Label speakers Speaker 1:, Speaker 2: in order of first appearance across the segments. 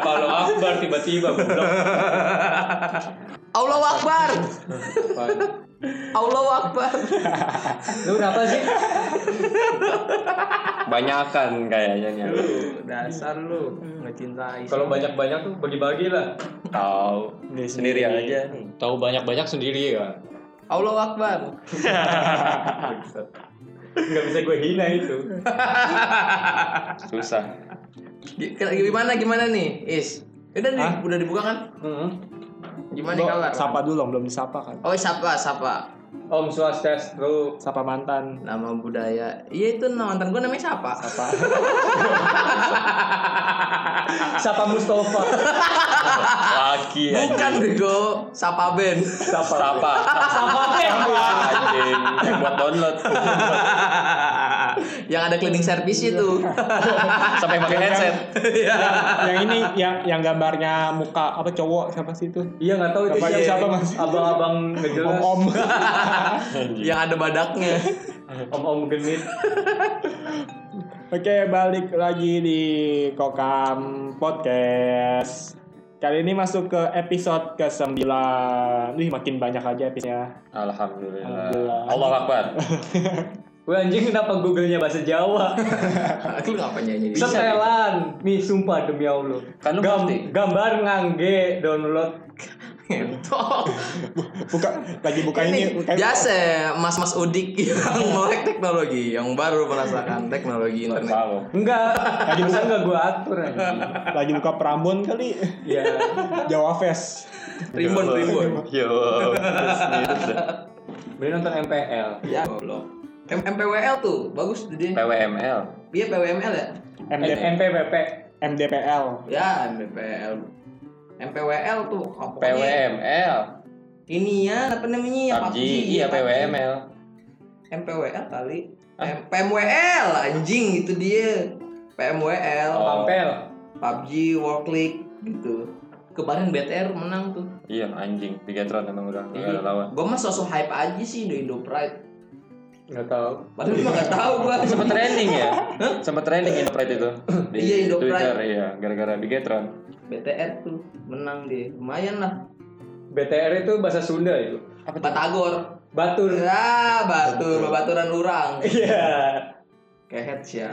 Speaker 1: bubar tiba-tiba goblok.
Speaker 2: Allahu Akbar.
Speaker 1: Apaan?
Speaker 2: Allahu Akbar.
Speaker 3: Lu berapa sih?
Speaker 4: Banyakan kayaknya nih.
Speaker 3: Dasar lu
Speaker 5: Hmm.
Speaker 3: mencintai.
Speaker 1: Kalau banyak-banyak tuh bagi-bagi lah.
Speaker 4: Tahu. Sendiri
Speaker 1: Iya.
Speaker 4: aja.
Speaker 1: Tahu banyak-banyak sendiri kan.
Speaker 2: Allahu Akbar.
Speaker 1: Gak bisa gue hina itu.
Speaker 4: Susah.
Speaker 2: Gi- Gimana gimana nih, Is? Udah di,
Speaker 5: Hah?
Speaker 2: udah dibuka kan? Gimana nih kabar?
Speaker 5: Hmm. Sapa dulu dong, belum disapa kan.
Speaker 2: Oh, sapa, sapa.
Speaker 1: Om Swastiastu.
Speaker 5: Sapa mantan.
Speaker 2: Nama budaya. Iya itu nama mantan gue namanya siapa? Sapa.
Speaker 1: Sapa Mustafa.
Speaker 4: Laki anjing.
Speaker 2: Bukan bego, sapa Ben.
Speaker 4: Sapa. Sapa. Sapa. Anjing. Yang buat download.
Speaker 2: yang ada cleaning service itu.
Speaker 4: Sampai pakai headset.
Speaker 5: yang ini yang yang gambarnya muka apa cowok siapa sih itu?
Speaker 1: Iya nggak tahu itu
Speaker 5: Siapa-
Speaker 1: siapa.
Speaker 5: siapa, Mas?
Speaker 1: Abang-abang nggak jelas.
Speaker 5: Om.
Speaker 2: yang ada badaknya.
Speaker 1: Om-om genit.
Speaker 5: Oke, balik lagi di Kokam Podcast. Kali ini masuk ke episode ke-9. Ih, makin banyak aja episodenya.
Speaker 4: Alhamdulillah.
Speaker 5: Alhamdulillah.
Speaker 4: Allah Akbar.
Speaker 1: Gue anjing kenapa Google-nya bahasa Jawa?
Speaker 2: Lu ngapa nyanyi di sini?
Speaker 1: Setelan, nih sumpah demi Allah.
Speaker 4: Kan lu
Speaker 1: Gam-
Speaker 4: ngerti.
Speaker 1: gambar ngangge download.
Speaker 2: Ngentot.
Speaker 5: Buka lagi buka
Speaker 2: Ini
Speaker 5: ini. buka ini.
Speaker 2: biasa mas-mas udik yang melek teknologi, yang baru merasakan teknologi internet.
Speaker 4: Malu.
Speaker 1: Enggak, masa enggak gue atur anjing.
Speaker 5: Lagi buka Prambon kali.
Speaker 1: Iya.
Speaker 5: Jawa Fest.
Speaker 2: Rimbun, rimbun.
Speaker 4: Yo.
Speaker 1: Beli nonton MPL.
Speaker 2: Ya, goblok. M- MPWL tuh bagus tuh dia.
Speaker 4: PWML.
Speaker 2: Iya PWML ya?
Speaker 5: MD,
Speaker 1: MPPP.
Speaker 5: MDPL.
Speaker 2: Ya, MPL. MPWL tuh apa?
Speaker 4: PWML.
Speaker 2: Ini ya, apa namanya ya?
Speaker 4: PUBG. Iya PWML.
Speaker 2: MPWL kali. M- PMWL anjing itu dia. PMWL,
Speaker 4: Oh.
Speaker 1: Pampel.
Speaker 2: PUBG, World League gitu. Kemarin BTR menang tuh.
Speaker 4: Iya anjing. Bigatron emang udah nggak
Speaker 2: Iya.
Speaker 4: ada lawan.
Speaker 2: Gue mah sosok hype aja sih Indo Indo Pride.
Speaker 1: Enggak tahu.
Speaker 2: Padahal gue gak tau gue.
Speaker 4: Sempet trending ya? Sempet trending Indopride itu Di
Speaker 2: Iya, Indopride.
Speaker 4: Twitter iya Gara-gara Bigatron
Speaker 2: BTR tuh menang dia. Lumayan lah.
Speaker 1: BTR itu bahasa Sunda itu.
Speaker 2: Batagor.
Speaker 1: Batur.
Speaker 2: Ya, batur, baturan urang.
Speaker 1: Iya.
Speaker 2: Kehet sih ya.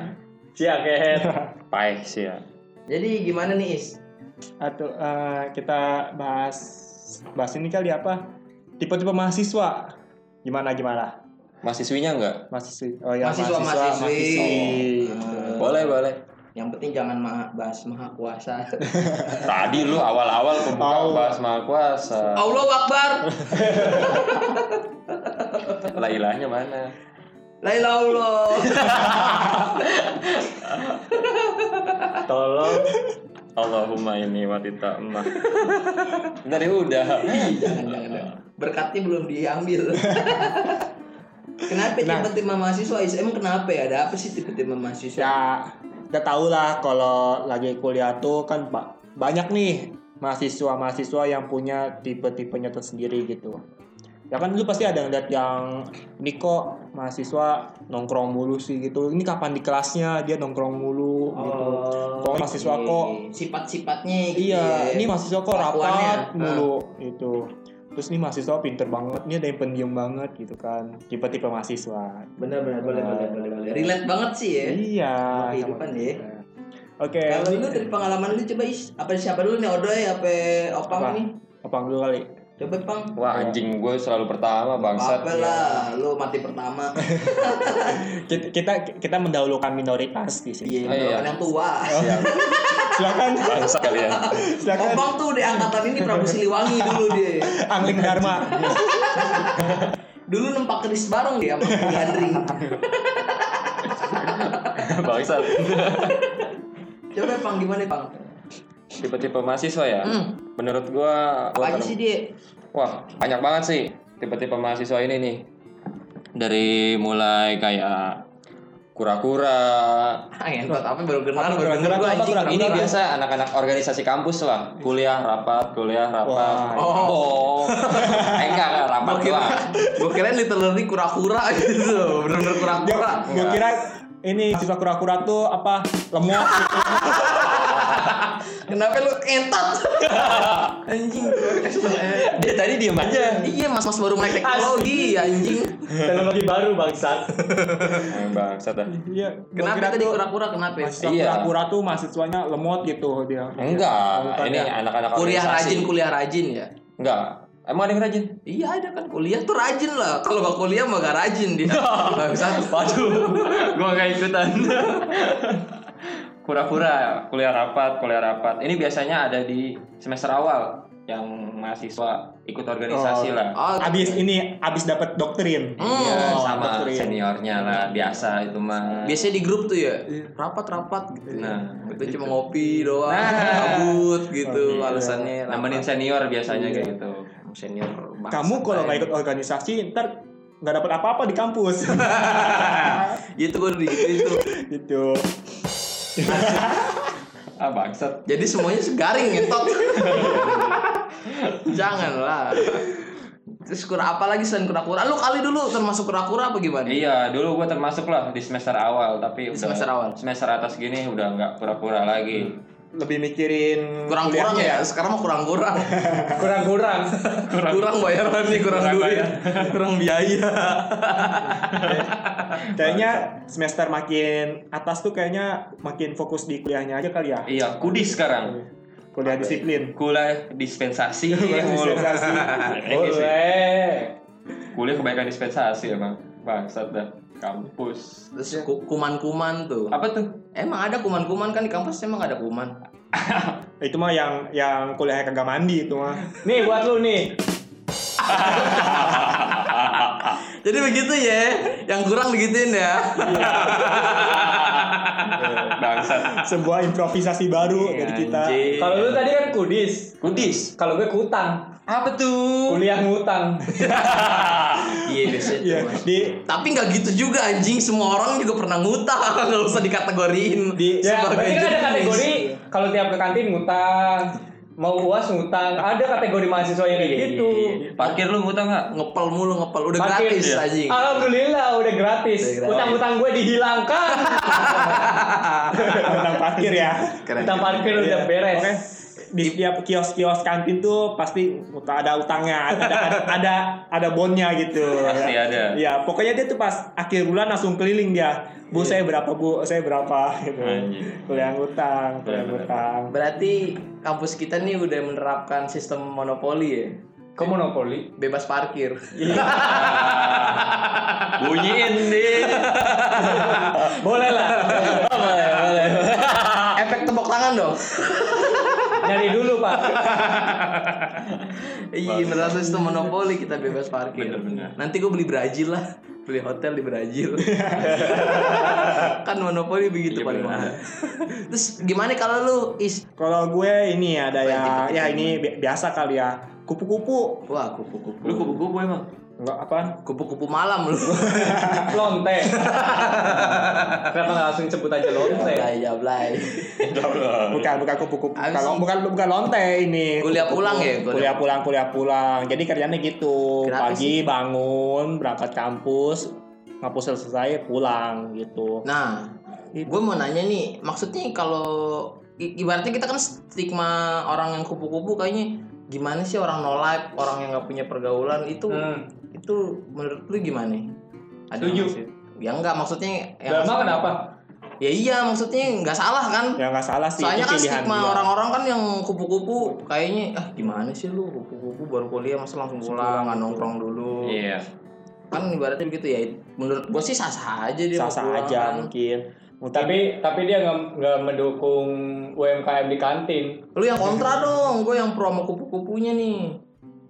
Speaker 1: Cia kehet.
Speaker 4: Paeh sih ya
Speaker 2: Jadi gimana nih Is?
Speaker 5: Atau eh, kita bahas bahas ini kali apa? Tipe-tipe mahasiswa. Gimana gimana?
Speaker 4: Mahasiswinya enggak?
Speaker 5: Mahasiswi. Oh ya,
Speaker 2: Mahasiswa, mahasiswi.
Speaker 5: mahasiswi.
Speaker 2: Eh,
Speaker 4: Boleh boleh
Speaker 2: Yang penting jangan ma- bahas maha kuasa.
Speaker 4: Tadi lu awal-awal pembuka
Speaker 5: Tahu.
Speaker 4: bahas maha kuasa
Speaker 2: Allah Akbar.
Speaker 4: Lah ilahnya mana?
Speaker 2: Laila Allah.
Speaker 1: Tolong.
Speaker 4: Allahumma ini wanita emak Dari ya udah
Speaker 2: jangan, jangan, jangan. Berkatnya belum diambil. kenapa
Speaker 5: Nah.
Speaker 2: tiba-tiba mahasiswa Is? Emang kenapa ya? Ada apa sih tiba-tiba mahasiswa?
Speaker 5: ya kita tahu lah kalau lagi kuliah tuh kan ba- banyak nih mahasiswa-mahasiswa yang punya tipe-tipenya tersendiri gitu ya kan lu pasti ada ngeliat yang ini kok mahasiswa nongkrong mulu sih gitu ini kapan di kelasnya dia nongkrong mulu gitu
Speaker 2: Oh,
Speaker 5: kok mahasiswa kok
Speaker 2: Sifat-sifatnya gitu ya.
Speaker 5: iya ini mahasiswa kok
Speaker 2: Kelakuannya. ya? Ah.
Speaker 5: rapat mulu gitu terus nih mahasiswa pinter banget ini ada yang pendiam banget gitu kan tipe-tipe mahasiswa
Speaker 2: Bener bener boleh boleh boleh boleh. Relate banget sih ya.
Speaker 5: iya
Speaker 2: Sama
Speaker 5: sama
Speaker 2: kehidupan ya.
Speaker 5: kita. oke
Speaker 2: Kalau
Speaker 5: ini-
Speaker 2: lu dari pengalaman lu coba is apa siapa dulu nih Odoy apa Opang
Speaker 5: Apa?
Speaker 2: nih?
Speaker 5: apa dulu kali
Speaker 2: Coba Pang.
Speaker 4: Wah anjing gue selalu pertama bangsat
Speaker 2: Apa lah, lu mati pertama.
Speaker 5: kita kita, kita mendahulukan minoritas di
Speaker 2: Iya,
Speaker 5: sini.
Speaker 4: Oh, iya.
Speaker 2: orang yang tua.
Speaker 4: Siap.
Speaker 5: Silakan,
Speaker 4: Bangsat kalian
Speaker 5: silakan.
Speaker 2: Opang Oh, tuh di angkatan ini Prabu Siliwangi dulu dia.
Speaker 5: Angling Dharma.
Speaker 2: Dulu nempak keris bareng dia sama Budi Andri.
Speaker 4: Bangsat
Speaker 2: Coba Pang gimana Pang?
Speaker 4: Tipe-tipe mahasiswa ya?
Speaker 2: Hmm.
Speaker 4: Menurut gua
Speaker 2: Apa aja sih dia?
Speaker 4: Wah, banyak banget sih tipe-tipe mahasiswa ini nih. Dari mulai kayak kura-kura.
Speaker 2: Ah, entot apa baru kenal baru
Speaker 5: kurang-kurang,
Speaker 2: kenal gua
Speaker 5: apa
Speaker 2: anjing.
Speaker 5: kurang?
Speaker 4: Ini biasa anak-anak organisasi kampus lah, kuliah rapat, kuliah rapat.
Speaker 5: Wah.
Speaker 4: Oh, Eh, enggak enggak, rapat
Speaker 2: Gua kira,
Speaker 4: doang.
Speaker 2: gua kira literally kura-kura gitu, bener-bener kura-kura.
Speaker 5: Gue kira ini siswa kura-kura tuh apa lemot gitu.
Speaker 2: Kenapa lu entot? anjing.
Speaker 5: Dia tadi diem aja.
Speaker 2: Iya, mas-mas baru melek teknologi anjing.
Speaker 1: Teknologi baru bangsat.
Speaker 4: Emang Eh, bangsat dah.
Speaker 5: Iya.
Speaker 2: Kenapa tadi kura-kura kenapa? ya?
Speaker 5: Mahasiswa
Speaker 4: Iya.
Speaker 5: kura-kura tuh mahasiswanya lemot gitu dia.
Speaker 4: Enggak,
Speaker 5: Bukan
Speaker 4: ini
Speaker 5: ya.
Speaker 4: anak-anak
Speaker 2: Kuliah
Speaker 4: organisasi.
Speaker 2: rajin, kuliah rajin ya.
Speaker 4: Enggak. Emang ada yang rajin?
Speaker 2: Iya ada kan kuliah tuh rajin lah. Kalau gak kuliah mah gak rajin dia. Bangsat. Waduh.
Speaker 4: gua gak ikutan kura-kura kuliah rapat kuliah rapat ini biasanya ada di semester awal yang mahasiswa ikut organisasi
Speaker 5: Oh.
Speaker 4: lah
Speaker 2: Oh,
Speaker 5: Abis ini abis dapat
Speaker 4: Iya,
Speaker 5: doktrin.
Speaker 2: Hmm.
Speaker 5: Oh,
Speaker 4: sama
Speaker 5: betul ya.
Speaker 4: seniornya lah biasa itu mah
Speaker 2: Biasanya di grup tuh ya rapat-rapat gitu. ya.
Speaker 4: Nah,
Speaker 2: kita cuma ngopi doang,
Speaker 4: Nah.
Speaker 2: kabut gitu alasannya.
Speaker 4: nemenin
Speaker 2: rapat.
Speaker 4: senior biasanya kayak gitu
Speaker 2: senior. bangsa
Speaker 5: Kamu kalau nggak
Speaker 2: lain.
Speaker 5: ikut organisasi ntar nggak dapat apa-apa di kampus.
Speaker 2: Itu gue udah gitu itu.
Speaker 5: gitu.
Speaker 4: ah bangsat
Speaker 2: Jadi semuanya segaring ngetot. Janganlah. Terus kura apa lagi selain kura-kura? Lu kali dulu termasuk kura-kura apa gimana?
Speaker 4: iya dulu gua termasuk lah di semester awal tapi
Speaker 2: Di
Speaker 4: udah
Speaker 2: semester awal.
Speaker 4: semester atas gini udah nggak pura-pura lagi
Speaker 5: Lebih mikirin
Speaker 2: Kurang-kurang
Speaker 5: kuliahnya
Speaker 2: ya? Sekarang mah kurang-kurang.
Speaker 1: Kurang-kurang.
Speaker 2: kurang bayaran nih, kurang,
Speaker 4: Kurang
Speaker 2: duit,
Speaker 4: bayar.
Speaker 2: kurang biaya.
Speaker 5: Kayaknya semester makin atas tuh kayaknya makin fokus di kuliahnya aja kali ya.
Speaker 4: iya kudis sekarang
Speaker 5: Kuliah disiplin.
Speaker 4: kuliah dispensasi mulu.
Speaker 5: Dispensasi.
Speaker 4: Ini sih.
Speaker 1: Boleh.
Speaker 4: kuliah kebaikan dispensasi emang bangsat dah kampus
Speaker 2: Terus ya? ku- kuman-kuman tuh.
Speaker 4: apa tuh
Speaker 2: Emang ada kuman-kuman kan di kampus emang ada kuman.
Speaker 5: Itu mah yang yang kuliahnya kagak mandi itu mah.
Speaker 1: Nih buat lu nih.
Speaker 2: Jadi begitu ya, yang kurang digituin ya.
Speaker 4: Eh, bangsat
Speaker 5: Sebuah improvisasi baru dari kita.
Speaker 2: Anjing.
Speaker 1: Kalau lu tadi kan kudis.
Speaker 4: kudis
Speaker 1: Kalau gue kutang.
Speaker 4: apa tuh
Speaker 1: Kuliah ngutang.
Speaker 2: Iya biasa itu.
Speaker 5: Iya,
Speaker 2: Mas.
Speaker 5: di
Speaker 2: Tapi nggak gitu juga anjing, semua orang juga pernah ngutang, nggak usah dikategoriin
Speaker 5: Di-
Speaker 1: Ya, berarti kan ada
Speaker 2: jenis.
Speaker 1: kategori kalau tiap ke kantin ngutang, mau uas ngutang, ada kategori mahasiswa
Speaker 4: Iya,
Speaker 1: yang kayak gitu.
Speaker 4: parkir lu ngutang nggak
Speaker 2: ngepel mulu ngepel udah
Speaker 1: Makin- ya.
Speaker 2: gratis anjing.
Speaker 1: Alhamdulillah udah gratis.
Speaker 2: iya. Udah gratis.
Speaker 1: Utang-utang gue dihilangkan.
Speaker 5: tentang parkir ya.
Speaker 2: Keren.
Speaker 1: Utang parkir udah
Speaker 5: Iya.
Speaker 1: beres.
Speaker 5: Oke. Di setiap kios-kios kantin tuh pasti ut- ada utangnya, ada ada ada bonnya gitu.
Speaker 4: Pasti
Speaker 5: ya.
Speaker 4: ada.
Speaker 5: Iya, pokoknya dia tuh pas akhir bulan langsung keliling dia. Bu saya berapa bu, saya berapa gitu.
Speaker 4: Anjing.
Speaker 5: Kuliah utang, kuliah utang.
Speaker 2: Berarti kampus kita nih udah menerapkan sistem monopoli ya.
Speaker 1: Ke monopoli.
Speaker 2: Bebas parkir.
Speaker 1: Ya.
Speaker 4: bunyiin deh
Speaker 1: Boleh lah. Boleh, boleh.
Speaker 2: Efek tepuk tangan dong.
Speaker 1: Nyari dulu, Pak.
Speaker 2: Iya, menerapkan sistem monopoli kita bebas parkir.
Speaker 4: Bener-bener.
Speaker 2: Nanti gue beli Brazil lah, beli hotel di Brazil. kan monopoli begitu
Speaker 4: Iya,
Speaker 2: paling
Speaker 4: bener.
Speaker 2: mahal. Terus gimana kalau lu is
Speaker 5: Kalau gue ini ada yang ya ini bi- biasa kali ya. Kupu-kupu.
Speaker 2: Wah, kupu-kupu.
Speaker 4: lu kupu kupu emang
Speaker 5: Enggak apa?
Speaker 2: kupu-kupu malam lu.
Speaker 1: Lonte. Kenapa nggak langsung sebut aja lonte?
Speaker 2: Jablay, jablay.
Speaker 5: Bukan, bukan kupu-kupu.
Speaker 2: Apa
Speaker 5: Kalau
Speaker 2: sih?
Speaker 5: bukan bukan lonte ini.
Speaker 2: Kuliah
Speaker 5: Kupu-kupu.
Speaker 2: pulang ya, kuliah
Speaker 5: Kuliah pulang, kuliah pulang. Jadi kerjanya gitu.
Speaker 2: Kenapa
Speaker 5: Pagi bangun, berangkat kampus, ngapus selesai pulang gitu.
Speaker 2: Nah, gue mau nanya nih, maksudnya kalau i- ibaratnya kita kan stigma orang yang kupu-kupu kayaknya gimana sih orang no life, orang yang nggak punya pergaulan itu
Speaker 1: Hmm.
Speaker 2: itu menurut lu gimana? Ada
Speaker 1: Setuju.
Speaker 2: maksud- Ya enggak maksudnya yang
Speaker 1: Dharma kenapa?
Speaker 2: Ya iya maksudnya nggak salah kan?
Speaker 5: Ya nggak salah sih
Speaker 2: Soalnya
Speaker 5: itu
Speaker 2: kan
Speaker 5: pilihan
Speaker 2: stigma
Speaker 5: dia.
Speaker 2: orang-orang kan yang kupu-kupu kayaknya ah gimana sih lu kupu-kupu baru kuliah masa langsung pulang nggak nongkrong dulu
Speaker 4: iya
Speaker 2: kan ibaratnya begitu ya menurut gue sih sah-sah aja dia mau
Speaker 5: Sasa
Speaker 2: pulang. kan.
Speaker 5: aja mungkin. Mungkin
Speaker 1: Tapi tapi dia nggak nggak mendukung UMKM di kantin.
Speaker 2: Lu yang kontra dong, gue yang pro sama kupu-kupunya nih.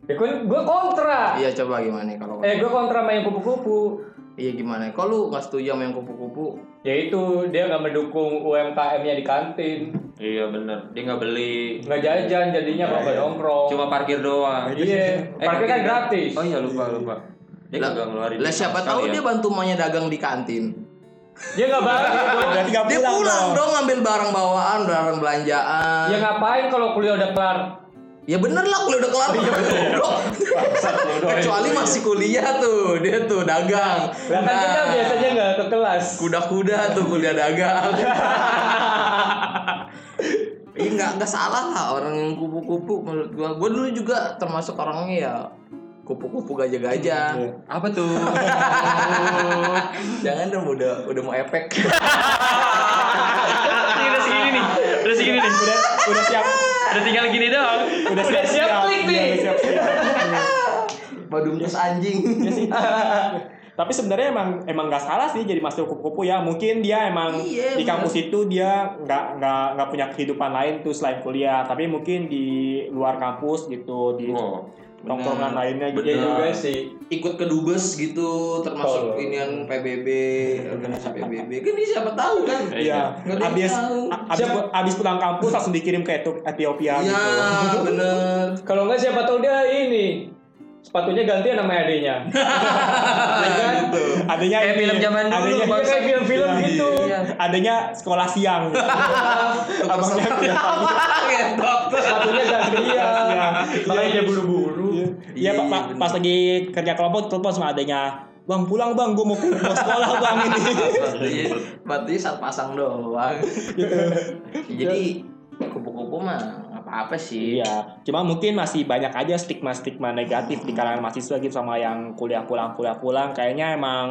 Speaker 1: Ya, gue kontra.
Speaker 2: Iya coba gimana kalau
Speaker 1: Eh gue kontra sama yang kupu-kupu.
Speaker 2: Iya gimana? Kalau lu nggak setuju sama yang kupu-kupu?
Speaker 1: Yaitu dia nggak mendukung UMKM-nya di kantin,
Speaker 4: iya bener dia nggak beli
Speaker 1: nggak jajan jadinya kalau nggak nongkrong.
Speaker 4: cuma parkir doang
Speaker 1: Iya,
Speaker 4: Eh,
Speaker 1: parkir kan gratis.
Speaker 4: oh iya lupa lupa dia
Speaker 2: Lah-
Speaker 4: nggak ngeluarin
Speaker 2: Lah siapa
Speaker 4: ya.
Speaker 2: tahu dia bantu mamanya dagang di kantin.
Speaker 1: Dia nggak balik.
Speaker 5: berarti nggak
Speaker 2: Dia
Speaker 5: pulang,
Speaker 2: pulang
Speaker 5: dong.
Speaker 2: dong ngambil barang bawaan, barang belanjaan.
Speaker 1: ya ngapain kalau kuliah udah kelar?
Speaker 2: Ya bener lah kuliah udah kelar goblok. Kecuali masih kuliah tuh, dia tuh dagang.
Speaker 1: Lah kan kita
Speaker 2: Nah,
Speaker 1: biasanya nggak ke kelas.
Speaker 2: kuda-kuda tuh kuliah dagang. Iya nggak nggak salah lah orang yang kupu-kupu menurut gua. Gua dulu juga termasuk orangnya ya kupu-kupu gajah-gajah.
Speaker 4: Apa tuh?
Speaker 2: Jangan dong udah udah mau efek.
Speaker 6: Ini udah segini nih. Udah segini nih.
Speaker 5: udah udah siap
Speaker 6: Udah tinggal gini doang.
Speaker 5: udah siap siap
Speaker 1: klik nih.
Speaker 5: Iya, udah siap siap
Speaker 2: Badum terus anjing.
Speaker 5: Iya sih. tapi sebenarnya emang emang nggak salah sih jadi masuk kupu-kupu ya mungkin dia emang
Speaker 2: Iya,
Speaker 5: di
Speaker 2: bener.
Speaker 5: kampus itu dia nggak nggak nggak punya kehidupan lain tuh selain kuliah tapi mungkin di luar kampus gitu di
Speaker 4: Oh.
Speaker 5: tongkrongan lainnya gitu
Speaker 1: Iya
Speaker 5: ya
Speaker 1: juga sih.
Speaker 2: Ikut ke dubes gitu termasuk
Speaker 1: Tolong.
Speaker 2: inian PBB, organisasi PBB. Kan dia siapa tahu kan.
Speaker 5: Iya.
Speaker 2: Nggak ada yang
Speaker 5: Abis,
Speaker 2: tahu.
Speaker 5: a- abis,
Speaker 1: Siap.
Speaker 5: abis pulang kampus langsung dikirim ke Etu- Ethiopia
Speaker 2: Iya,
Speaker 5: gitu.
Speaker 2: bener.
Speaker 1: Kalau nggak siapa tahu dia ini sepatunya gantian sama adiknya. ya
Speaker 5: Iya,
Speaker 1: kan?
Speaker 5: gitu. Adanya
Speaker 4: Kayak
Speaker 5: ini,
Speaker 4: film zaman dulu,
Speaker 5: adanya,
Speaker 1: Dia kayak film-film
Speaker 5: Iya.
Speaker 1: gitu.
Speaker 5: adanya sekolah siang. Gitu.
Speaker 2: Iya,
Speaker 5: Abangnya Iya, kuliah pagi.
Speaker 1: Sepatunya
Speaker 5: Iya.
Speaker 1: gantian. Makanya dia buru-buru.
Speaker 5: Iya, Pak, Pak, pas lagi kerja kelompok telepon sama adanya. Bang pulang bang, gue mau pulang sekolah bang Gitu. ini.
Speaker 2: Berarti Iya, berarti saat pasang doang.
Speaker 5: Iya.
Speaker 2: Jadi kupu-kupu mah apa-apa sih.
Speaker 5: iya, cuma mungkin masih banyak aja stigma-stigma negatif di kalangan mahasiswa gitu sama yang kuliah pulang kuliah pulang. Kayaknya emang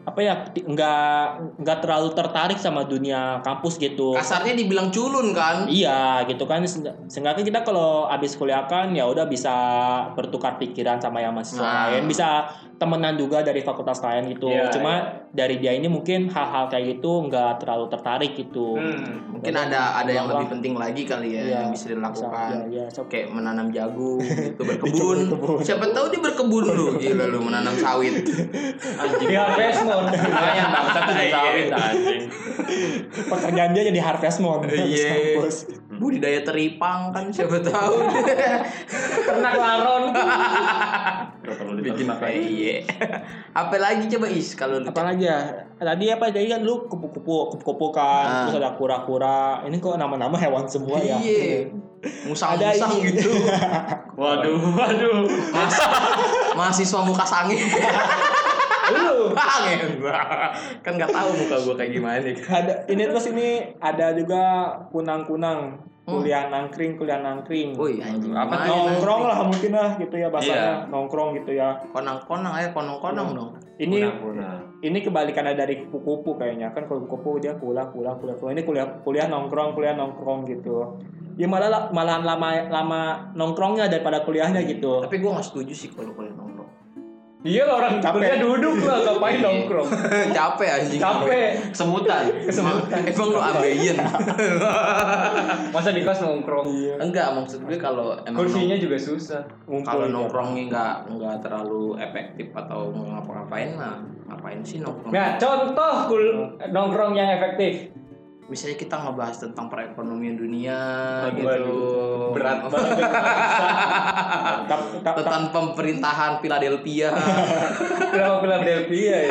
Speaker 5: apa ya ti- nggak nggak terlalu tertarik sama dunia kampus gitu.
Speaker 2: Kasarnya dibilang culun kan.
Speaker 5: Iya gitu kan Se- seenggaknya kita kalau abis kuliah kan ya udah bisa bertukar pikiran sama yang mahasiswa
Speaker 2: Nah.
Speaker 5: lain bisa temenan juga dari fakultas lain gitu
Speaker 1: Iya,
Speaker 5: cuma dari dia ini mungkin hal-hal kayak gitu nggak terlalu tertarik gitu
Speaker 1: Hmm.
Speaker 2: Mungkin ada ada yang
Speaker 5: Ulang-ulang.
Speaker 2: lebih penting lagi kali ya
Speaker 5: Iya.
Speaker 2: yang bisa
Speaker 5: Iya,
Speaker 2: dilakukan.
Speaker 5: iya, so-
Speaker 2: Kayak menanam jagung gitu,
Speaker 5: Di kebun.
Speaker 2: berkebun. Siapa tahu dia berkebun lu, gila lu menanam sawit. Anjing.
Speaker 5: Iya.
Speaker 1: Dia Pesmon.
Speaker 4: Lumayan bangsat tuh disawit anjing.
Speaker 5: pekerjaan dia jadi harvest moon abis
Speaker 2: Iya.
Speaker 5: kampus.
Speaker 2: Budidaya teripang kan siapa tahu.
Speaker 1: Ternak laron.
Speaker 4: Gak perlu
Speaker 2: Bikin
Speaker 4: diternak lagi.
Speaker 2: Iya. Apa lagi coba Is kalau lu
Speaker 5: apalagi ya tadi apa tadi kan lu kupu-kupu kupu-kupu kan
Speaker 2: Ah.
Speaker 5: terus ada kura-kura ini kok nama-nama hewan semua ya
Speaker 2: Iya. Musang-musang
Speaker 5: Ada-
Speaker 2: gitu.
Speaker 4: Waduh, waduh.
Speaker 2: Mahasiswa muka sange.
Speaker 1: Lu.
Speaker 2: Sange. kan nggak tahu muka gua kayak gimana kan.
Speaker 5: ada ini terus ini ada juga kunang-kunang
Speaker 2: Hmm.
Speaker 5: kuliah nangkring kuliah nangkring
Speaker 2: Woi, anjing.
Speaker 4: Apa
Speaker 2: gimana,
Speaker 5: nongkrong
Speaker 2: nanti?
Speaker 5: lah mungkin lah gitu ya bahasanya nongkrong gitu ya
Speaker 2: Konang-konang aja konong-konong
Speaker 1: Iya.
Speaker 2: dong.
Speaker 5: ini ini kebalikannya dari kupu-kupu kayaknya kan kupu-kupu dia kuliah kuliah kuliah kuliah ini kuliah kuliah nongkrong kuliah nongkrong gitu ya malah malahan lama lama nongkrongnya daripada kuliahnya gitu
Speaker 2: Tapi gua nggak setuju sih kalau kuliah nongkrong.
Speaker 1: Iya lah orang
Speaker 5: Capek.
Speaker 1: kuliah duduk lah ngapain nongkrong.
Speaker 2: Capek
Speaker 1: Iya.
Speaker 2: anjing.
Speaker 1: Capek.
Speaker 2: Kesemutan. Kesemutan. Emang lu abeyen.
Speaker 1: Masa di kelas nongkrong.
Speaker 2: Enggak, maksud gue kalau emang
Speaker 1: Kursinya juga susah.
Speaker 5: ngumpul
Speaker 2: kalau
Speaker 5: gitu.
Speaker 2: nongkrongnya nggak nggak terlalu efektif atau nggak ngapa-ngapain lah ngapain sih nongkrong
Speaker 1: Nah, contoh kul- nongkrong yang efektif.
Speaker 2: misalnya kita ngebahas tentang perekonomian dunia
Speaker 1: Waduh,
Speaker 2: gitu
Speaker 1: Berat banget.
Speaker 5: Ta- ta- ta-
Speaker 2: tentang pemerintahan Philadelphia
Speaker 1: Kenapa Philadelphia ya?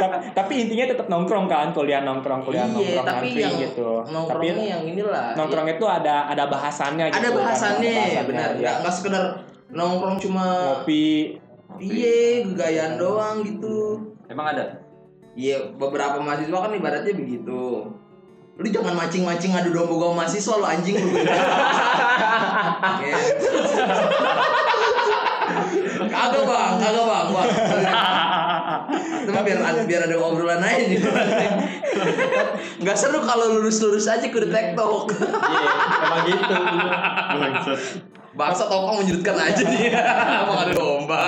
Speaker 5: ta- tapi intinya tetap nongkrong kan kuliah nongkrong kuliah
Speaker 2: iya
Speaker 5: nongkrong
Speaker 2: tapi
Speaker 5: nangkring
Speaker 2: yang
Speaker 5: gitu tapi
Speaker 2: nongkrongnya yang inilah
Speaker 5: nongkrong itu ada ada bahasannya
Speaker 2: Ya,
Speaker 5: gitu
Speaker 2: ada
Speaker 5: kan,
Speaker 2: bahasannya
Speaker 5: bahasannya,
Speaker 2: benar Eh.
Speaker 5: ya.
Speaker 2: nggak nggak sekedar nongkrong cuma
Speaker 5: ngopi
Speaker 2: iya gayaan doang gitu
Speaker 4: Emang ada?
Speaker 2: Iya, beberapa mahasiswa kan ibaratnya begitu. Lu jangan mancing-mancing ngadu domba gua sama mahasiswa lu anjing lu. Iya. Kagak bang, kagak bang, bang. Cuma biar biar ada obrolan aja nih. Gak seru kalau lurus-lurus aja kudu tektok.
Speaker 1: Iya, emang gitu.
Speaker 2: Bangsa tokong menyudutkan aja dia. Emang ada domba.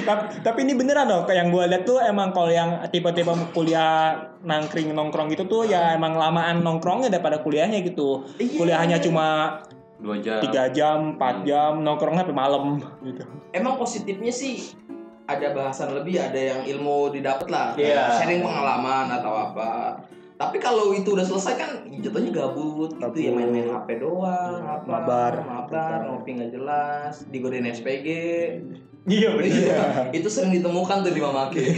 Speaker 5: tapi, tapi ini beneran loh kayak yang gue lihat tuh emang kalau yang tipe-tipe kuliah nangkring nongkrong gitu tuh ya emang lamaan nongkrongnya daripada kuliahnya gitu
Speaker 2: Iya.
Speaker 5: kuliahnya cuma
Speaker 4: Dua jam.
Speaker 5: tiga jam
Speaker 4: Hmm.
Speaker 5: 4 jam nongkrongnya sampai malam gitu
Speaker 2: Emang positifnya sih ada bahasan lebih, ada yang ilmu didapat lah,
Speaker 1: Iya.
Speaker 2: sharing pengalaman atau apa. Tapi kalau itu udah selesai kan jatuhnya gabut,
Speaker 5: Gabut.
Speaker 2: gitu ya main-main HP doang,
Speaker 5: Iya,
Speaker 2: apa,
Speaker 5: mabar.
Speaker 2: mabar, ngopi nggak jelas, digodain SPG.
Speaker 1: Iya benar.
Speaker 2: Iya, itu sering ditemukan tuh di Mamake.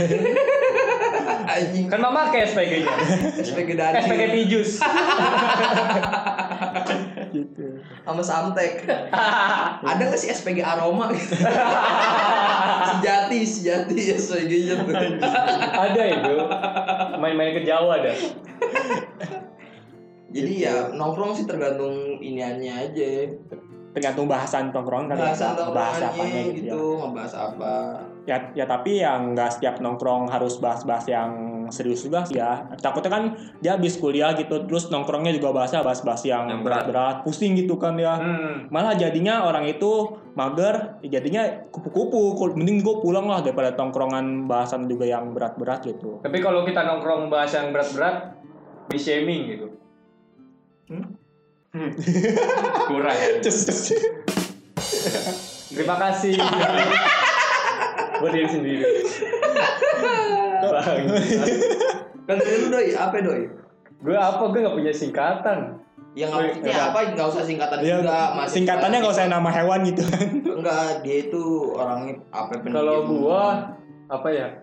Speaker 2: Anjing,
Speaker 1: Kan mama kayak SPG-nya.
Speaker 2: SPG dari
Speaker 1: SPG pijus.
Speaker 5: gitu
Speaker 2: sama Samtek. ada nggak sih SPG aroma? gitu? sejati, sejati SPG-nya tuh. ya,
Speaker 1: Ada itu. Main-main ke Jawa dah.
Speaker 2: Jadi
Speaker 5: Gitu.
Speaker 2: ya nongkrong sih tergantung iniannya aja.
Speaker 5: tergantung bahasan tongkrongan kan
Speaker 2: Bahasa
Speaker 5: bahas apanya
Speaker 2: nongkrongannya
Speaker 5: gitu,
Speaker 2: gitu, ngebahas apa.
Speaker 5: ya. ya ya tapi yang nggak setiap nongkrong harus bahas-bahas yang serius juga sih ya takutnya kan dia habis kuliah gitu terus nongkrongnya juga bahasnya bahas-bahas yang,
Speaker 4: Yang berat.
Speaker 5: berat-berat pusing gitu kan ya
Speaker 1: Hmm.
Speaker 5: malah jadinya orang itu mager jadinya kupu-kupu Kul- mending gue pulang lah daripada tongkrongan bahasan juga yang berat-berat gitu
Speaker 1: Tapi kalau kita nongkrong bahas yang berat-berat, di shaming gitu.
Speaker 6: kurang
Speaker 5: Cus, cus.
Speaker 1: Terima kasih. Berdiri sendiri. Bang.
Speaker 2: Kan tadi lu doi, apa doi?
Speaker 1: Gue apa? Gue gak punya singkatan.
Speaker 2: Yang maksudnya apa? Nggak usah singkatan
Speaker 5: Ya,
Speaker 2: juga. mahasiswa.
Speaker 5: singkatannya nggak usah nama hewan gitu kan
Speaker 2: Enggak, dia itu orangnya apa pendiam.
Speaker 1: Kalau gua apa ya?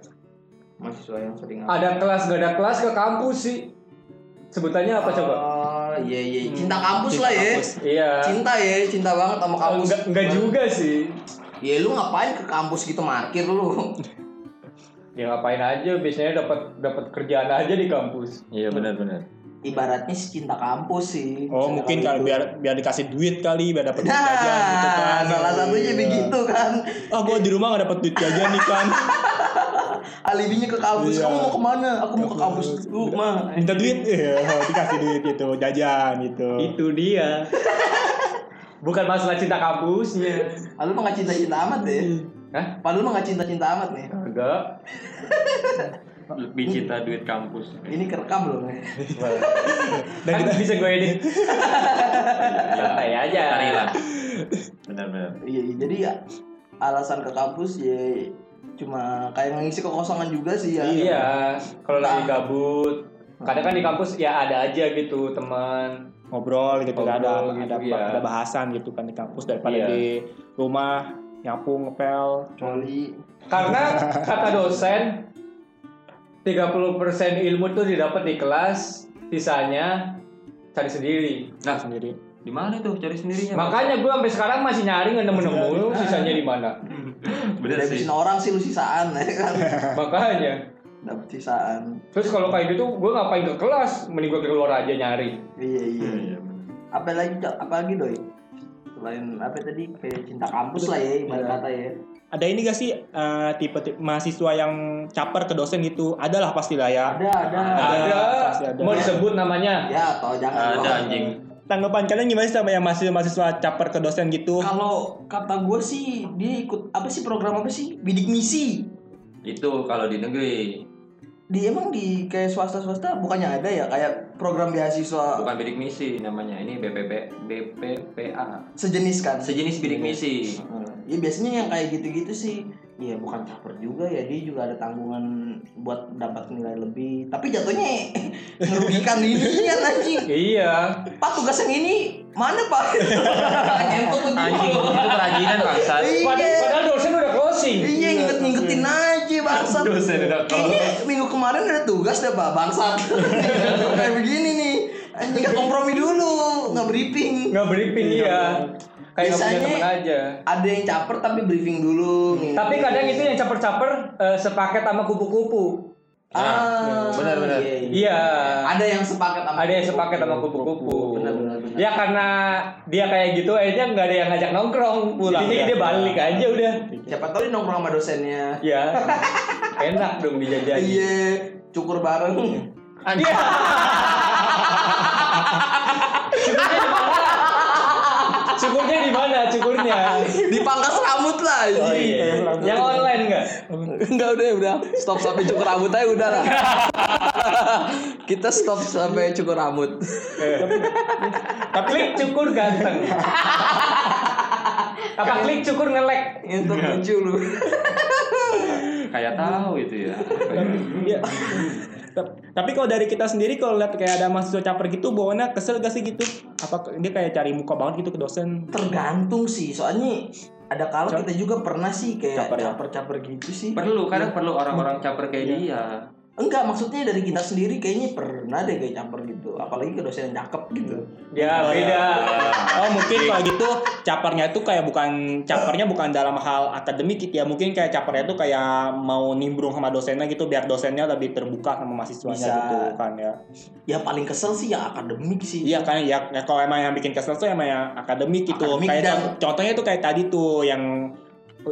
Speaker 2: mahasiswa yang sering
Speaker 1: Ada kelas gak ada kelas ke kampus sih. Sebutannya apa coba?
Speaker 2: Oh, iya iya, cinta kampus lah ya.
Speaker 5: Hmm. Kampus.
Speaker 1: Iya.
Speaker 2: Cinta ya, cinta banget sama kampus.
Speaker 1: Enggak, enggak juga sih.
Speaker 2: Ya lu ngapain ke kampus gitu markir lu?
Speaker 1: Ya ngapain aja biasanya dapat dapat kerjaan aja di kampus.
Speaker 4: Iya benar-benar.
Speaker 2: Ibaratnya sih cinta kampus sih.
Speaker 5: oh mungkin kalau
Speaker 2: biar
Speaker 5: biar biar dikasih duit kali biar dapat duit jajan gitu
Speaker 2: Nah,
Speaker 5: kan
Speaker 2: salah satunya
Speaker 5: Iya.
Speaker 2: begitu kan.
Speaker 5: ah gue di rumah nggak dapat duit jajan nih kan
Speaker 2: Alibinya ke kampus.
Speaker 5: Iya.
Speaker 2: Kamu mau kemana? Aku mau ke kampus dulu, mah.
Speaker 5: minta duit iya, dikasih duit gitu jajan gitu
Speaker 1: Itu dia. Bukan masalah cinta kampusnya.
Speaker 2: Lalu mah nggak cinta-cinta amat deh.
Speaker 1: Hah?
Speaker 2: Padahal mah nggak cinta-cinta amat nih.
Speaker 1: Enggak.
Speaker 6: lebih cinta duit kampus
Speaker 2: Ini kerekam belum ya?
Speaker 5: dan
Speaker 1: Kan
Speaker 5: kita
Speaker 1: bisa gue edit. Santai aja.
Speaker 4: Benar-benar.
Speaker 2: Iya, iya. jadi ya alasan ke kampus ya cuma kayak mengisi kekosongan juga sih ya.
Speaker 1: Iya, kalau
Speaker 2: Nah.
Speaker 1: lagi gabut. Kadang kan di kampus ya ada aja gitu teman.
Speaker 5: ngobrol gitu kan ada
Speaker 1: Ngobrol
Speaker 5: ada,
Speaker 1: gitu, ya.
Speaker 5: ada bahasan gitu kan di kampus daripada
Speaker 1: Iya.
Speaker 5: di rumah nyapu ngepel
Speaker 2: Kecuali
Speaker 1: Karena kata dosen 30% ilmu tuh didapat di kelas, sisanya cari sendiri.
Speaker 5: sendiri
Speaker 4: Di mana itu cari sendirinya?
Speaker 1: Makanya gue sampai sekarang masih nyari nggak nemu-nemu lu sisanya di mana.
Speaker 4: Benar Iya sih.
Speaker 2: dapetin orang sih lu sisaan ya kan.
Speaker 1: Makanya.
Speaker 2: Dapet sisaan.
Speaker 1: Terus kalau kayak gitu gue ngapain ke kelas? Mending gue keluar aja nyari.
Speaker 2: Iya, iya.
Speaker 4: Iya, benar.
Speaker 2: Apa lagi Dok? apa lagi doi? Selain apa tadi kayak cinta kampus lah ya ibarat
Speaker 5: Iya.
Speaker 2: kata ya.
Speaker 5: ada ini gak sih eh, tipe, tipe mahasiswa yang caper ke dosen gitu adalah pastilah ya
Speaker 2: Ada, ada.
Speaker 1: Ah, Ada,
Speaker 5: pasti ada.
Speaker 1: mau disebut namanya.
Speaker 2: Ya, atau jangan
Speaker 4: Ada
Speaker 2: dong.
Speaker 4: anjing.
Speaker 5: tanggapan kalian gimana sih sama yang mahasiswa-mahasiswa caper ke dosen gitu
Speaker 2: Kalau kata gue sih dia ikut apa sih program apa sih? Bidik misi.
Speaker 4: Itu kalau di negeri,
Speaker 2: Di emang di kayak swasta-swasta bukannya ada ya kayak program beasiswa
Speaker 4: bukan bidik misi namanya. Ini BPP BPPA.
Speaker 2: sejenis kan?
Speaker 4: Sejenis bidik misi.
Speaker 2: Ya biasanya yang kayak gitu-gitu sih Ya bukan caper juga ya Dia juga ada tanggungan buat dapat nilai lebih Tapi jatuhnya merugikan dirinya anjing
Speaker 1: Iya.
Speaker 2: Pak tugas yang ini mana pak? Nyentuh tuh
Speaker 4: Anjing, itu kerajinan bangsa.
Speaker 1: Pad-
Speaker 2: Iya
Speaker 1: Padahal dosen udah closing.
Speaker 2: Iya nginget-ngingetin aja bangsat Kayaknya minggu kemarin ada tugas deh pak bangsat Kayak begini nih Anjing nggak kompromi dulu Nggak briefing
Speaker 1: Nggak briefing iya. Kayak nggak punya
Speaker 2: Biasanya-
Speaker 1: teman aja.
Speaker 2: Ada yang caper tapi briefing dulu nih.
Speaker 1: Tapi kadang itu yang caper-caper eh, sepaket sama kupu-kupu.
Speaker 2: Ah,
Speaker 4: benar-benar.
Speaker 2: iya, iya.
Speaker 1: Iya.
Speaker 2: Ada yang sepaket sama
Speaker 1: Ada yang sepaket sama kupu-kupu.
Speaker 2: Benar, benar, benar.
Speaker 1: Ya karena dia kayak gitu akhirnya nggak ada yang ngajak nongkrong pulang.
Speaker 2: ya?
Speaker 5: Iya.
Speaker 1: Jadi dia balik aja udah.
Speaker 2: Hmm. Siapa tahu dia nongkrong sama dosennya.
Speaker 1: Ya. Enak dong dijajani.
Speaker 2: Iya, cukur bareng.
Speaker 1: Iya. Syukurnya di mana? Syukurnya di mana? Syukurnya.
Speaker 2: Dipangkas rambut lah
Speaker 5: Oh,
Speaker 2: anjing.
Speaker 5: iya.
Speaker 1: Yang online nggak?
Speaker 2: Enggak udah udah stop sampai cukur rambut aja udah lah. Kita stop sampai cukur rambut.
Speaker 1: Tapi klik cukur ganteng. Apa klik cukur ngelek?
Speaker 2: Itu lucu lu.
Speaker 4: Kayak tahu itu ya.
Speaker 5: Iya. Ta- Tapi kalau dari kita sendiri kalau lihat kayak ada mahasiswa caper gitu bawaannya kesel gak sih gitu? Apa ke- dia kayak cari muka banget gitu ke dosen?
Speaker 2: Tergantung sih, soalnya ada kala kita juga pernah sih kayak
Speaker 5: Caper ya?
Speaker 2: caper-caper gitu sih.
Speaker 4: Perlu, kadang perlu orang-orang caper kayak dia.
Speaker 2: Enggak, maksudnya dari kita sendiri kayaknya pernah deh kayak caper gitu. Apalagi ke dosen yang cakep gitu.
Speaker 5: Hmm.
Speaker 1: Ya beda.
Speaker 5: Oh mungkin kalau gitu capernya itu kayak bukan capernya bukan dalam hal akademik gitu ya mungkin kayak capernya itu kayak mau nimbrung sama dosennya gitu biar dosennya lebih terbuka sama mahasiswanya
Speaker 2: Bisa.
Speaker 5: gitu kan ya.
Speaker 2: Yang paling kesel sih yang akademik sih.
Speaker 5: Iya kan ya, ya kalau emang yang bikin kesel tuh emang yang akademik gitu.
Speaker 2: Akademik
Speaker 5: kayak
Speaker 2: dan-
Speaker 5: contoh- contohnya tuh kayak tadi tuh yang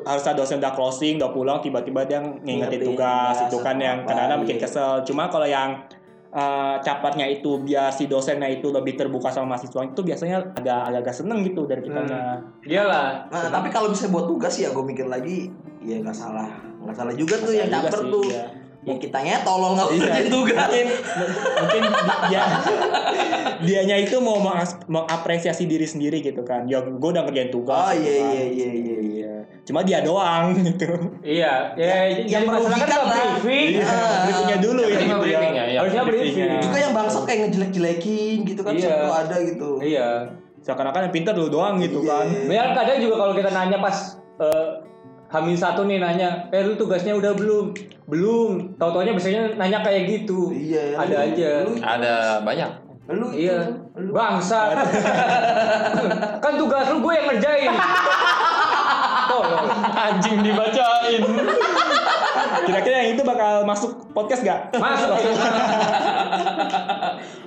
Speaker 5: harusnya dosen udah closing, udah pulang tiba-tiba dia ngingetin
Speaker 2: Ngingetin
Speaker 5: tugas
Speaker 2: tugas,
Speaker 5: itu kan yang
Speaker 2: apa,
Speaker 5: kadang-kadang
Speaker 2: iya.
Speaker 5: bikin kesel. Cuma kalau yang eh, caparnya itu biar si dosennya itu lebih terbuka sama mahasiswa itu biasanya agak agak seneng gitu dari kitanya.
Speaker 1: Iyalah.
Speaker 2: Nah, tapi kalau misalnya buat tugas ya gue mikir lagi, ya nggak salah. Nggak salah juga tuh yang
Speaker 5: Juga
Speaker 2: caper
Speaker 5: sih,
Speaker 2: tuh.
Speaker 5: iya.
Speaker 2: Yang kitanya tolong nggak
Speaker 5: Iya.
Speaker 2: kerjain tugas.
Speaker 5: mungkin mungkin dia dianya itu mau mengas- mengapresiasi diri sendiri gitu kan ya gue udah ngerjain tugas
Speaker 2: Oh
Speaker 5: gitu
Speaker 2: iya
Speaker 5: kan.
Speaker 2: iya iya iya. iya.
Speaker 5: Iya. cuma dia doang gitu
Speaker 1: Iya. Ya,
Speaker 2: Yang- yang
Speaker 1: yang masalah kan
Speaker 2: merugikan
Speaker 1: nggak
Speaker 2: lah.
Speaker 1: briefing.
Speaker 5: Iya,
Speaker 2: Ah.
Speaker 5: briefingnya dulu ya
Speaker 4: Terima
Speaker 5: gitu ya.
Speaker 4: briefing ya. ya.
Speaker 1: Harusnya iya. briefing.
Speaker 5: briefingnya.
Speaker 2: Juga yang bangsat kayak ngejelek-jelekin gitu kan
Speaker 1: Iya.
Speaker 2: selalu ada gitu.
Speaker 1: Iya.
Speaker 5: Seakan-akan yang pintar lu doang gitu
Speaker 2: Iya.
Speaker 5: kan.
Speaker 1: Ya kadang juga kalau kita nanya pas eh, Hamin satu nih nanya, eh lu tugasnya udah belum? Belum. Tau-taunya biasanya nanya kayak gitu.
Speaker 2: Iya.
Speaker 1: Ada
Speaker 2: lu-
Speaker 1: aja.
Speaker 2: lu-
Speaker 4: Ada banyak.
Speaker 2: Lu
Speaker 1: Iya. Bangsa. kan tugas lu gue yang ngerjain. Tolong.
Speaker 5: Anjing dibacain. Kira-kira yang itu bakal masuk podcast gak?
Speaker 1: Masuk.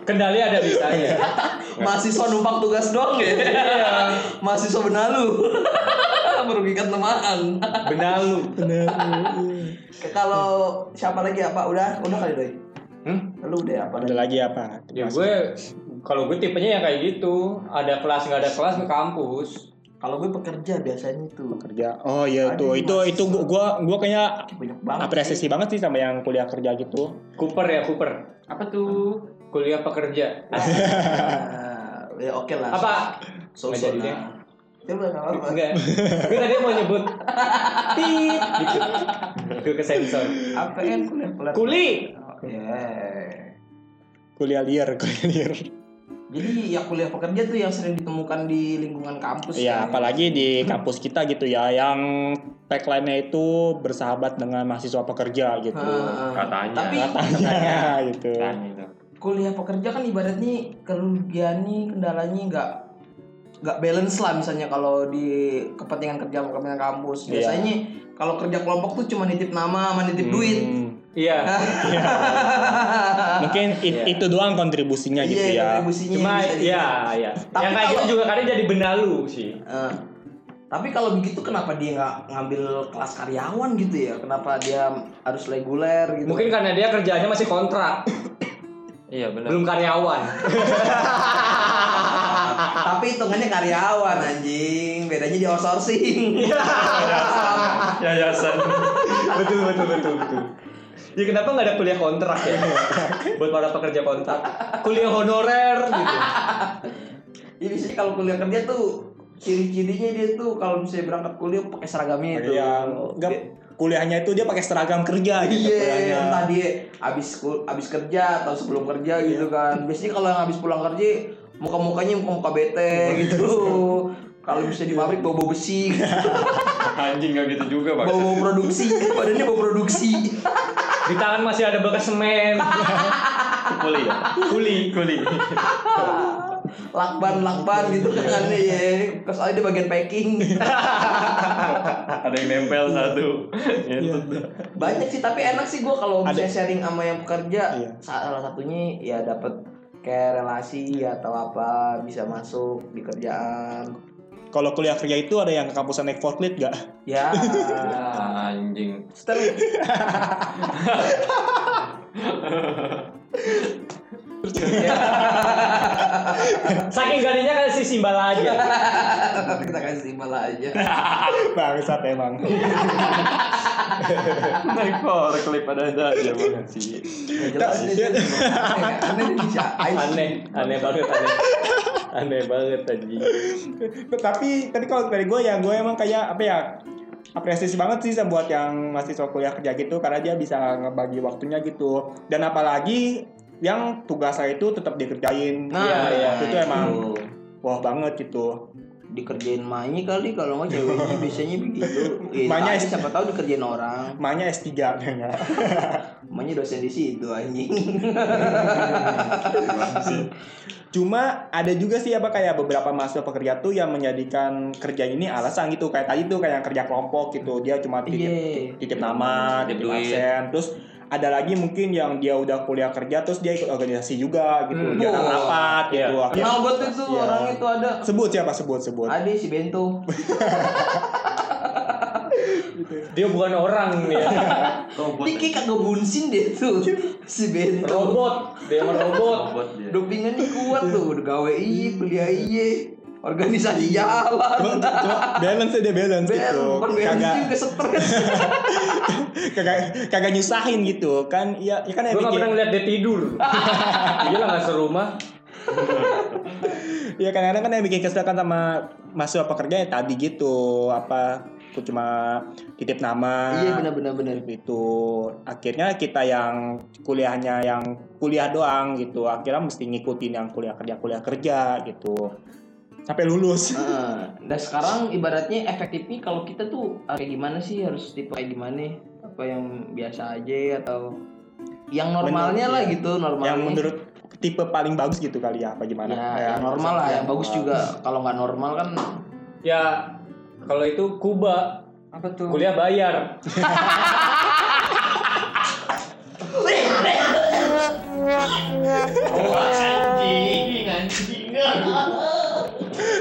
Speaker 1: Kendali ada di saya.
Speaker 2: mahasiswa numpang tugas doang ya. Iya. mahasiswa benalu. Merugikan temaan.
Speaker 1: Benalu.
Speaker 5: iya.
Speaker 2: Kalau siapa lagi apa? Udah, udah kali doi.
Speaker 1: Hmm?
Speaker 2: Lu udah apa?
Speaker 5: Ada lagi apa?
Speaker 2: Iya,
Speaker 1: Ya gue kalau gue tipenya yang kayak gitu, ada kelas nggak ada kelas ke kampus.
Speaker 2: Kalau gue pekerja biasanya itu
Speaker 5: kerja. Oh iya
Speaker 2: Aduh,
Speaker 5: tuh. Itu
Speaker 2: mas.
Speaker 5: itu gua gua, gua kayaknya
Speaker 2: banyak banget. Iya.
Speaker 5: apresiasi banget sih sama yang kuliah kerja gitu.
Speaker 1: Cooper ya Cooper.
Speaker 3: Apa tuh?
Speaker 1: Kuliah pekerja.
Speaker 2: Nah, ya oke lah.
Speaker 1: Apa?
Speaker 2: So,
Speaker 1: Nggak
Speaker 2: so,
Speaker 1: jadi
Speaker 2: nah.
Speaker 1: deh.
Speaker 2: Coba nggak apa-apa.
Speaker 1: Enggak. Gue tadi mau nyebut. Tit. Gitu. Gue ke sensor.
Speaker 2: Apa kan kuliah kuliah?
Speaker 1: Kuli.
Speaker 2: Ya.
Speaker 5: Kuliah liar, kuliah liar.
Speaker 2: Jadi ya kuliah pekerja tuh yang sering ditemukan di lingkungan kampus.
Speaker 5: Iya,
Speaker 2: kan.
Speaker 5: apalagi di kampus kita gitu ya yang tagline-nya itu bersahabat dengan mahasiswa pekerja gitu.
Speaker 2: Heeh.
Speaker 4: Katanya.
Speaker 2: Tapi
Speaker 5: Katanya gitu.
Speaker 4: Tanya itu.
Speaker 2: kuliah pekerja kan ibaratnya kerugiannya kendalanya nggak nggak balance lah misalnya kalau di kepentingan kerja sama kepentingan kampus
Speaker 5: Iya.
Speaker 2: biasanya kalau kerja kelompok tuh cuma nitip nama sama nitip duit
Speaker 5: Hmm.
Speaker 1: Iya.
Speaker 2: Ah,
Speaker 5: mungkin it- itu doang kontribusinya
Speaker 2: iya
Speaker 5: gitu ya.
Speaker 2: kontribusinya
Speaker 1: Cuma
Speaker 2: bisa
Speaker 1: ya
Speaker 2: dibilang.
Speaker 1: ya.
Speaker 2: Tapi
Speaker 1: yang kayak
Speaker 2: kalau-
Speaker 1: gitu juga kadang jadi benalu sih.
Speaker 2: Eh, tapi kalau begitu kenapa dia nggak ngambil kelas karyawan gitu ya kenapa dia harus reguler gitu
Speaker 1: Mungkin karena dia kerjaannya masih kontrak,
Speaker 4: Iya benar.
Speaker 1: belum karyawan.
Speaker 2: tapi hitungannya karyawan anjing bedanya di outsourcing
Speaker 6: Yayasan.
Speaker 1: betul betul betul betul. Ya kenapa nggak ada kuliah kontrak ya? Buat para pekerja kontrak. Kuliah honorer gitu.
Speaker 2: Jadi sih kalau kuliah kerja tuh ciri-cirinya dia tuh kalau misalnya berangkat kuliah pakai seragamnya itu.
Speaker 5: Iya, enggak kuliahnya itu dia pakai seragam kerja gitu kuliahnya.
Speaker 2: Iya, entah dia abis kul- abis kerja atau sebelum kerja gitu kan. Biasanya kalau yang abis pulang kerja muka-mukanya muka-muka bete gitu. kalau misalnya di pabrik bau bau besi,
Speaker 6: Anjing gak gitu juga bang.
Speaker 2: bau bau produksi, badannya bau produksi.
Speaker 1: Di tangan masih ada bekas semen.
Speaker 6: Kuli. ya? Kuli. Kuli.
Speaker 2: lakban lakban gitu kan ya. Terus ada di bagian packing.
Speaker 6: Ada yang nempel satu. Gitu. Itu.
Speaker 2: banyak sih tapi enak sih gue kalau
Speaker 5: Ada-
Speaker 2: misalnya sharing sama yang pekerja
Speaker 5: Iya.
Speaker 2: salah satunya ya dapat kayak relasi atau apa bisa masuk di kerjaan
Speaker 5: Kalau kuliah kerja itu ada yang ke kampusan naik forklift enggak?
Speaker 2: ya
Speaker 4: Anjing.
Speaker 2: setelah Ya,
Speaker 1: Saking ganinya kan si Simbala aja.
Speaker 2: kita kasih malah aja
Speaker 5: Bangsat emang.
Speaker 6: Naik forklift ada aja banget sih.
Speaker 2: Ya, jelas deh,
Speaker 5: Shit.
Speaker 2: aneh aneh deh, bisa aneh
Speaker 1: Aneh, aneh banget aneh. Aneh banget anjing.
Speaker 5: tapi tapi kalau dari gue ya gue emang kayak apa ya apresiasi banget sih sama buat yang mahasiswa kuliah kerja gitu karena dia bisa ngebagi waktunya gitu dan apalagi yang tugasnya itu tetap dikerjain
Speaker 2: Nah,
Speaker 5: Iya, waktu itu
Speaker 2: itu.
Speaker 5: emang wah banget gitu
Speaker 2: dikerjain mahnya kali kalau nggak ceweknya biasanya begitu ya,
Speaker 5: Mahnya
Speaker 2: tadi siapa tahu dikerjain orang
Speaker 5: Mahnya S3 ya nggak?
Speaker 2: mahnya dosen di situ anjing
Speaker 5: Cuma ada juga sih apa kayak beberapa mahasiswa pekerja tuh yang menjadikan kerja ini alasan gitu kayak tadi tuh kayak yang kerja kelompok gitu dia cuma titip
Speaker 2: Iya.
Speaker 5: titip nama,
Speaker 4: Titip
Speaker 5: titip
Speaker 4: duit.
Speaker 5: absen, terus ada lagi mungkin yang dia udah kuliah kerja terus dia ikut organisasi juga gitu
Speaker 1: Hmm.
Speaker 5: dia kan
Speaker 2: Wah.
Speaker 5: rapat gitu
Speaker 2: kenal gue tuh Ya, itu
Speaker 5: Iya.
Speaker 2: orang itu ada
Speaker 5: sebut siapa sebut sebut
Speaker 2: ada si bento
Speaker 1: Dia bukan orang ya.
Speaker 6: Robot.
Speaker 2: ini kayak kagak bunsin deh tuh si bento
Speaker 1: Robot, dia mah robot.
Speaker 6: Robot dia.
Speaker 2: dopingan dia kuat tuh udah gawe iye kuliah iye organisasi
Speaker 5: Cuma-
Speaker 2: jalan
Speaker 5: cuma balance aja balance
Speaker 2: Ben,
Speaker 5: gitu
Speaker 2: bukan Ben
Speaker 5: kagak
Speaker 2: juga stres
Speaker 5: kagak kagak nyusahin gitu kan ya, ya kan ya
Speaker 1: Gue gak
Speaker 5: bikin-
Speaker 1: pernah ngeliat dia tidur. Gila gak serumah.
Speaker 5: Ya kadang-kadang kan yang bikin kesel kan sama mahasiswa pekerja ya tadi gitu apa tuh cuma titip nama.
Speaker 2: iya benar benar benar
Speaker 5: Itu akhirnya kita yang kuliahnya yang kuliah doang gitu akhirnya mesti ngikutin yang kuliah kerja kuliah kerja gitu sampai lulus.
Speaker 2: Heeh. dan sekarang ibaratnya efektifnya kalau kita tuh ah, kayak gimana sih harus tipe kayak gimana apa yang biasa aja atau yang normalnya
Speaker 5: Bener,
Speaker 2: lah
Speaker 5: iya.
Speaker 2: gitu normalnya
Speaker 5: yang menurut tipe paling bagus gitu kali ya apa gimana?
Speaker 2: ya,
Speaker 5: Kayak-
Speaker 2: yang normal lah yang bagus juga kalau nggak normal kan
Speaker 1: Ya, kalau itu Kuba.
Speaker 2: apa tuh
Speaker 1: Kuliah bayar.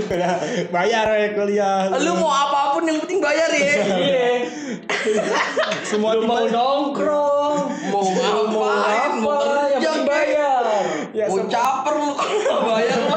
Speaker 5: Kuliah- bayar ya kuliah.
Speaker 2: lu mau apapun yang penting bayar ya
Speaker 1: Iya.
Speaker 5: semua
Speaker 1: Lu
Speaker 5: tipe
Speaker 1: mau nongkrong.
Speaker 2: mau ngapain mau
Speaker 1: Apa yang
Speaker 2: kerja
Speaker 1: penting bayar.
Speaker 5: ya,
Speaker 2: mau
Speaker 5: semua- Iya,
Speaker 2: caper lu kalau nggak bayar
Speaker 5: ya.